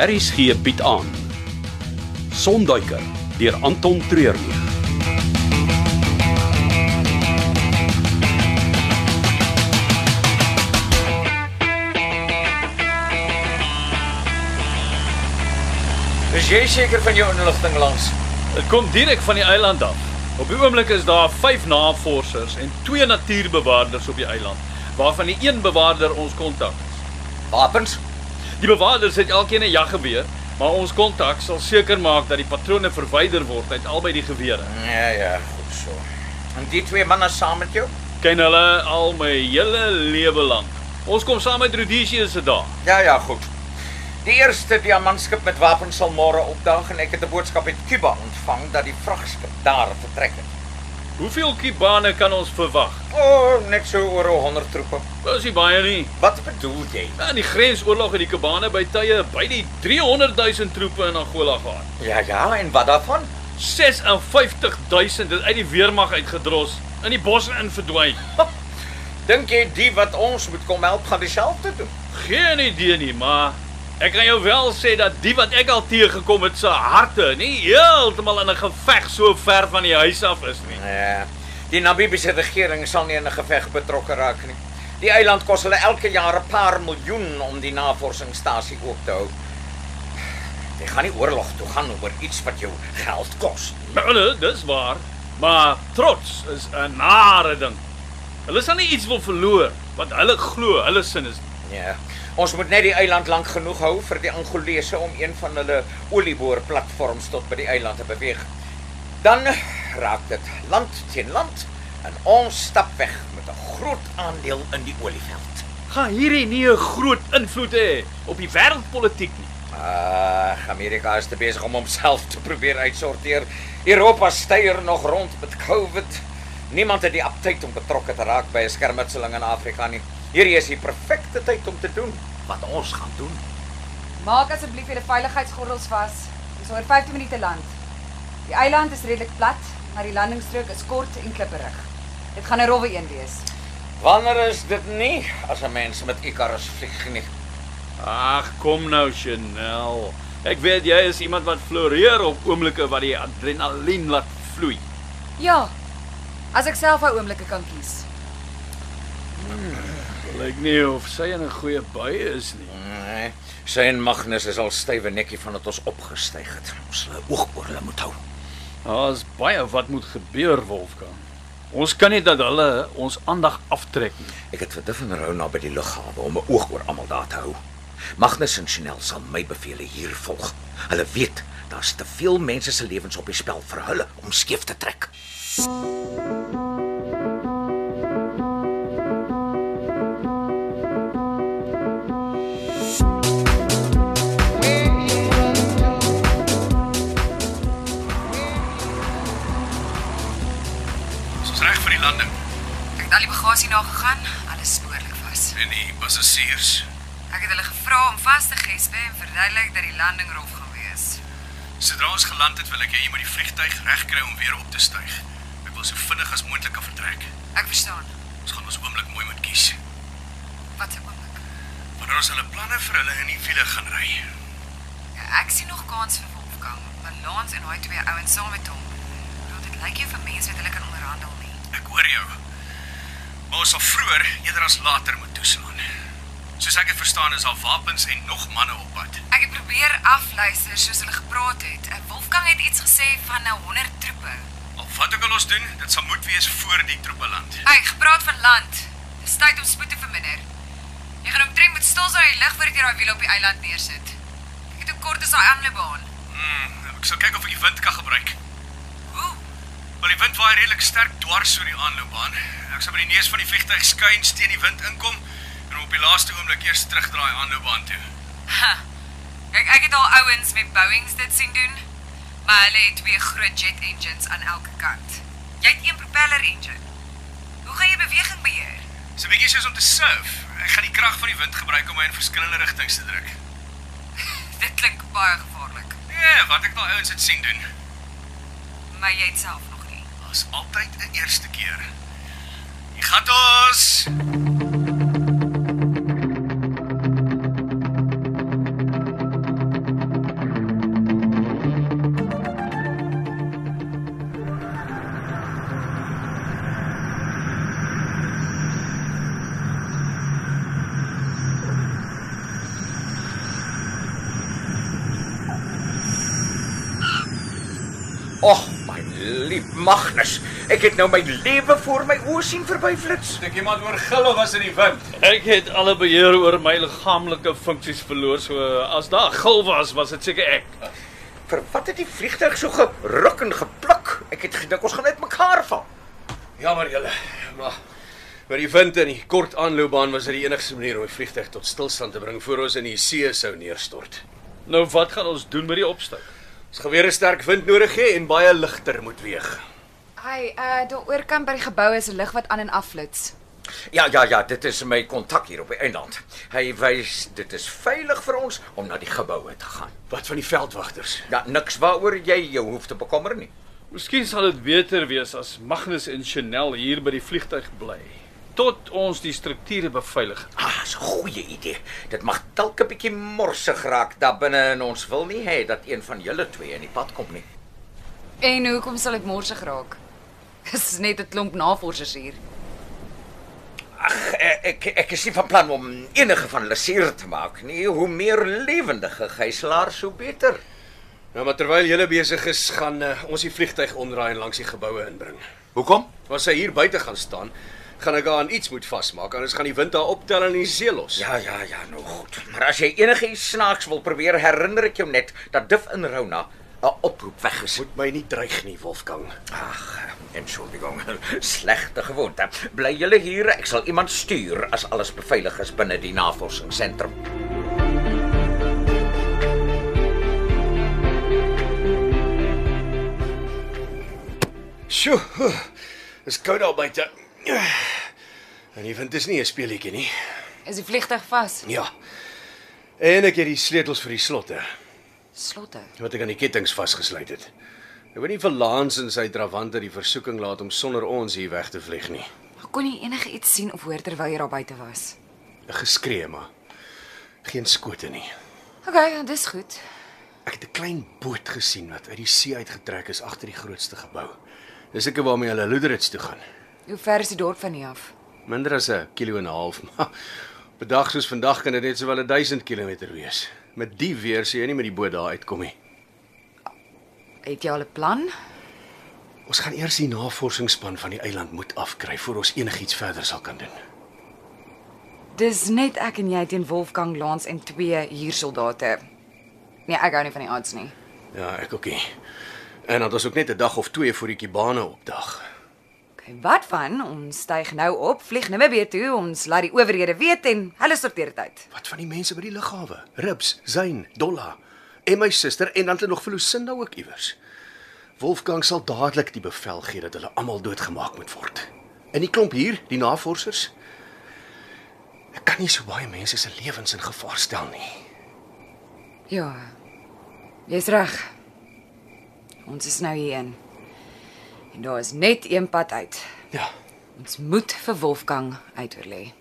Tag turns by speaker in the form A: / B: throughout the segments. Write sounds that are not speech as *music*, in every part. A: RSG bied aan Sonduiker deur Anton Treurnig.
B: Is jy seker van jou inligting langs?
C: Dit kom direk van die eiland af. Op die oomblik is daar 5 navorsers en 2 natuurbewaarders op die eiland, waarvan die een bewaarder ons kontak.
B: Wapens?
C: Die bewaarders het elkeen 'n jaggeweer, maar ons kontak sal seker maak dat die patrone verwyder word uit albei die gewere.
B: Ja ja, goed so. En die twee manne saam met jou?
C: Ken hulle al my hele lewe lank. Ons kom saam met Rhodesië se dag.
B: Ja ja, goed. Die eerste diamantskip met wapens sal môre opdaag en ek het 'n boodskap uit Kuba ontvang dat die vragskip daar vertrek het.
C: Hoeveel Kubane kan ons verwag?
B: O, oh, net so oor 100 troepe.
C: Dis nie baie nie.
B: Wat bedoel jy?
C: Na Nou, die grensoorlog het die Kubane by tye by die 300 000 troepe in Angola gehad.
B: Ja ja, en wat daarvan?
C: 56000 is uit die weermag uitgedros in die bosse in verdwyn.
B: Dink jy die wat ons moet kom help gaan dieselfde doen?
C: Geen idee nie, maar ek kan jou wel sê dat die wat ek al teëgekom het se harte nie heeltemal in 'n geveg so ver van die huis af is nie.
B: Nee. Die Namibiese regering sal nie in 'n geveg betrokke raak nie. Die eiland kos hulle elke jaar 'n paar miljoen om die navorsingsstasie oop te hou. Jy gaan nie oorlog toe gaan oor iets wat jou geld kos.
C: Nou, hulle, dis waar, maar trots is 'n nare ding. Hulle sal nie iets wil verloor want hulle glo hulle sin is.
B: Nee. Ons moet net die eiland lank genoeg hou vir die Angolese om een van hulle olieboorplatforms tot by die eiland te beweeg. Dan raak dit land teen land en ons stap weg met 'n groot aandeel in die olieveld.
C: Gaan hierdie nie 'n groot invloed hê op die wêreldpolitiek nie.
B: Ag, Amerika is te besig om homself te probeer uitsorteer. Europa styer nog rond met COVID. Niemand het die aptyd om betrokke te raak by 'n skermutseling in Afrika nie. Hierdie is die perfekte tyd om te doen wat ons gaan doen.
D: Maak asseblief julle veiligheidsgordels vas. Ons oor 15 minute land. Die eiland is redelik plat, maar die landingsstrook is kort en klipperig. Dit gaan 'n rowwe een wees.
B: Wanneer is dit nie as 'n mens met Icarus vlieg nie?
C: Ag, kom nou Chanel. Ek weet jy is iemand wat floreer op oomblikke wat die adrenalien laat vloei.
D: Ja. As ek self ou oomblikke kan kies.
C: Lyk nie of sy in 'n goeie bui is nie.
B: Nee. Sy en Magnus is al stywe nekkie vandat ons opgestyg het. Ons hulle oog oor hulle moet hou.
C: Daar's baie wat moet gebeur, Wolfgang. Ons kan nie dat hulle ons aandag aftrek nie.
B: Ek het vir Diff en Rona by die lughawe om 'n oog oor almal daar te hou. Magnus en Chanel sal my beveel hier volg. Hulle weet daar's te veel mense se lewens op die spel vir hulle om skeef te trek.
E: Ons is reg vir die landing
D: Ek het al die bagasie nagegaan, alles spoorlik vas.
E: en die passasiers
D: Ek het hulle gevra om vas te gespe en verduidelik dat die landing rof gaan wees.
E: Sodra ons geland het, wil ek hê jy moet die vliegtyg regkry om weer op te styg. Ek wil so vinnig as moontlik kan vertrek.
D: Ek verstaan.
E: Ons gaan ons oomblik mooi moet kies.
D: Wat 'n oomblik.
E: Wanneer ons hulle planne vir hulle in die wiele gaan ry.
D: Ja, Ek sien nog kans vir Wolfgang, balans en daai twee ouens saam met hom. Ek bedoel, Dit lyk jy vir mense wat hulle kan onderhandel nie.
E: Ek hoor jou. Maar ons sal vroeër eerder as later moet toeslaan. Soos ek dit verstaan, is daar wapens en nog manne op pad.
D: Ek het probeer afluister soos hulle gepraat het. Eh, Wolfgang het iets gesê van nou 100 troepe.
E: Al wat ook al ons doen, dit sal moet wees voor die troepe land.
D: Hy het gepraat van land. Dis tyd om spoed te verminder. Jy gaan omtrent moet stil staan in die lug voordat jy daai wiel op die eiland neersit. Ek het hoe kort is daai aanloopbaan?
E: Hmm, ek sal kyk of ek die wind kan gebruik.
D: Hoe?
E: Maar die wind waai redelik sterk dwars oor die aanloopbaan. Ek sou by die neus van die vliegtyg skuins teen die wind inkom en op die laaste oomblik eers terugdraai aanloopbaan toe.
D: Kyk, ek het al ouens met Boeings dit sien doen, maar hulle het twee groot jet engines aan elke kant. Jy het een propeller engine. Hoe gaan jy beweging beheer? *laughs*
E: Dis 'n bietjie soos om te surf. Ek gaan die krag van die wind gebruik om my in verskillende rigtings te druk.
D: Dit klink baie gevaarlik,
E: Nee, wat ek nou ouens het sien doen.
D: maar jy het self nog nie.
E: Daar's altyd 'n eerste keer. Jy gaan ons.
B: Och, my lief Magnus, ek het nou my lewe voor my oë sien verbyflits.
E: Dink iemand oor gille was in die wind.
C: Ek het alle beheer oor my liggaamlike funksies verloor, so as daar gil was, was dit seker ek.
B: Vir wat het die vliegtuig so geruk en gepluk? Ek het gedink ons gaan uitmekaar val.
E: Jammer julle, maar met die wind en die kort aanloopbaan was dit die enigste manier om die vliegtuig tot stilstand te bring voor ons in die see sou neerstort.
C: Nou wat gaan ons doen met die opstyg?
E: Ons gaan weer 'n sterk wind nodig hê en baie ligter moet weeg.
D: Hi, uh daaroor kan by die gebou is 'n lig wat aan en af flits.
B: Ja, ja, ja, dit is my kontak hier op die eiland. Hy wys dit is veilig vir ons om na die geboue te gaan.
E: Wat van die veldwagters?
B: Ja, niks waaroor jy jou hoef te bekommer nie.
C: Miskien sal dit beter wees as Magnus en Chanel hier by die vliegtyg bly tot ons die strukture beveilig.
B: Ah, dis 'n goeie idee. Dit mag dalk 'n bietjie morsig raak daar binne en ons wil nie hê dat een van julle twee in die pad kom nie.
D: En hoekom sal dit morsig raak? *laughs* Dis net 'n klomp navorsers hier.
B: Ag, eh, ek ek is nie van plan om enige van hulle seer te maak nie. Hoe meer lewendige gijslaars, hoe beter.
E: Nou maar terwyl julle besig is, gaan uh, ons die vliegtyg omdraai en langs die geboue inbring.
B: Hoekom?
E: As hy hier buite gaan staan, gaan ek aan iets moet vasmaak anders gaan die wind haar optel en in die see los.
B: Ja, ja, ja, nou goed. Maar as jy enigiets snaaks wil probeer, herinner ek jou net dat Div in Rona 'n oproep weg is.
E: Moet my nie dreig nie, Wolfgang.
B: Ag, entschuldigung, *laughs* slegte gewoonte. Bly julle hier, ek sal iemand stuur as alles beveilig is binne die navorsingsentrum.
E: Sjoe. Dis koud daar buite. En die wind is nie 'n speelietjie nie.
D: Is die vliegtyg vas?
E: Ja. En ek het die sleutels vir die slotte
D: Slotte.
E: wat ek aan die kettinge vasgesluit het. Ek weet nie vir Lance en sy drawante die versoeking laat om sonder ons hier weg te vlieg nie.
D: Ek kon nie enige iets sien of hoor terwyl jy daar buite was.
E: 'n Geskree maar geen skote nie.
D: Okay, dis goed.
E: Ek het 'n klein boot gesien wat uit die see uitgetrek is agter die grootste gebou. Dis seker waarmee hulle Luderitz toe gaan.
D: Hoe ver is die dorp van hier af?
E: Minder as 'n kilo en 'n half, *laughs* maar op 'n dag soos vandag kan dit net sowel 1000 km wees. Met die weer sien jy nie met die boot daar uitkom nie.
D: Het jy al 'n plan?
E: Ons gaan eers die navorsingsspan van die eiland moet afkry voor ons enigiets verder sal kan doen.
D: Dis net ek en jy teen Wolfgang Lans en twee huursoldate. Nee, ek hou nie van die odds nie.
E: Ja, ek ook nie. En dan is ook net 'n dag of twee voor die Kubane opdag.
D: Okay, wat van ons styg nou op, vlieg Namibië toe, ons laat die owerhede weet en hulle sorteer dit uit.
E: Wat van die mense by die lughawe? Rips, Zain, Dolla en my suster en dan het nog vir Lucinda ook iewers. Wolfgang sal dadelik die bevel gee dat hulle almal doodgemaak moet word. In die klomp hier, die navorsers. Ek kan nie so baie mense se lewens in gevaar stel nie.
D: Ja. Jy's reg. Ons is nou hierheen. En daar is net een pad uit.
E: Ja.
D: Ons moet vir Wolfgang uitoorlê.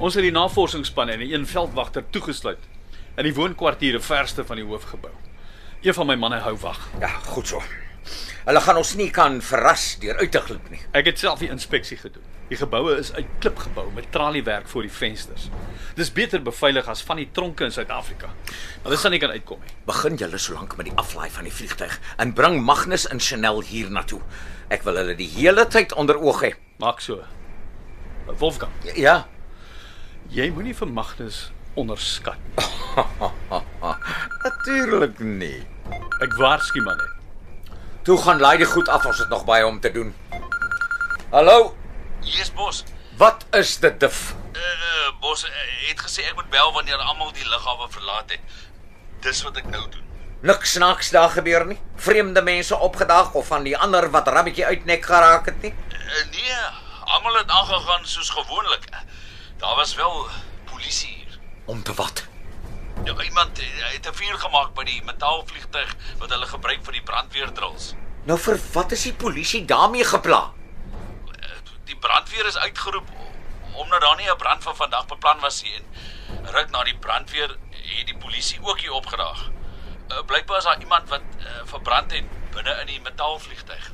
C: Ons het die navorsingsspan en 'n een veldwagter toegesluit in die woonkwartiere verste van die hoofgebou. Een van my manne hou wag.
B: Ja, goed so. Hulle gaan ons nie kan verras deur uit te glip nie.
C: Ek het self die inspeksie gedoen. Die geboue is uit klip gebou met traliewerk voor die vensters. Dis beter beveilig as van die tronke in Suid-Afrika. Hulle sal nie kan uitkom nie.
B: Begin julle solank met die aflaai van die vliegtyg en bring Magnus en Chanel hiernatoe. Ek wil hulle die hele tyd onder oog hê.
C: Maak so. Wolfgang,
B: Ja.
C: jy moenie vir Magnus onderskat nie.
B: Natuurlik nie.
C: Ek waarsku maar net.
B: Toe gaan laai die goed af, ons het nog baie om te doen. Hallo,
F: Hier's Bos.
B: wat is dit dif?
F: Eh uh, Bos eh, het gesê ek moet bel wanneer almal die lughawe verlaat het. Dis wat ek nou doen.
B: Niks snaaks daar gebeur nie. Vreemde mense opgedag of van die ander wat rammetjie uitnek geraak het nie.
F: Uh, nee, almal het aangegaan soos gewoonlik. Daar was wel polisie hier.
B: Om te wat?
F: Ja, iemand eh, het 'n vuur gemaak by die metaalvliegtuig wat hulle gebruik vir die brandweerdrills.
B: Nou vir wat is die polisie daarmee gepla?
F: Eh, Die brandweer is uitgeroep omdat daar nie 'n brand van vandag beplan was nie en ruk na die brandweer het die polisie ook hier opgedaag. Eh, Blykbaar is daar iemand wat uh, verbrand het binne in die metaalvliegtuig.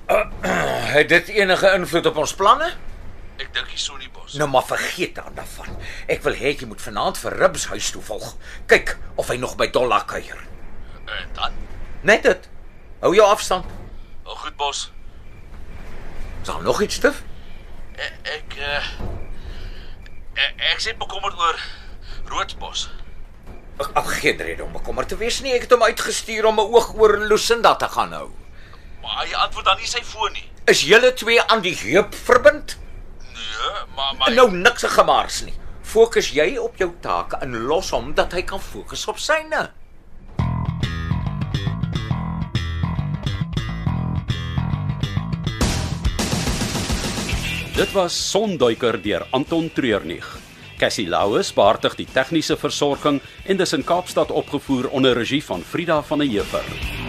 B: Het dit enige invloed op ons planne?
F: Ek dink hier Sonibos.
B: Nou maar vergeet dan daarvan. Ek wil hê jy moet vanaand vir Ribbs huis toe volg. Kyk of hy nog by Dolla kuier.
F: En Eh, dan?
B: Net dit. Hou jou afstand.
F: Oh, goed bos.
B: Is daar nog iets stif?
F: Ek ek eh, ek, ek sit bekommerd oor Roodbos.
B: Ag, ag geen rede om bekommerd te wees nie. Ek het hom uitgestuur om 'n oog oor Lucinda te gaan hou.
F: Maar hy antwoord dan nie sy foon nie.
B: Is julle twee aan die heup verbind?
F: Nee, maar maar
B: Nou niks gemaars nie. Fokus jy op jou take en los hom dat hy kan fokus op syne.
C: Dit was Sonduiker deur Anton Treurnig. Cassie Louws beheer die tegniese versorging en dis in Kaapstad opgevoer onder regie van Frida van der Heever.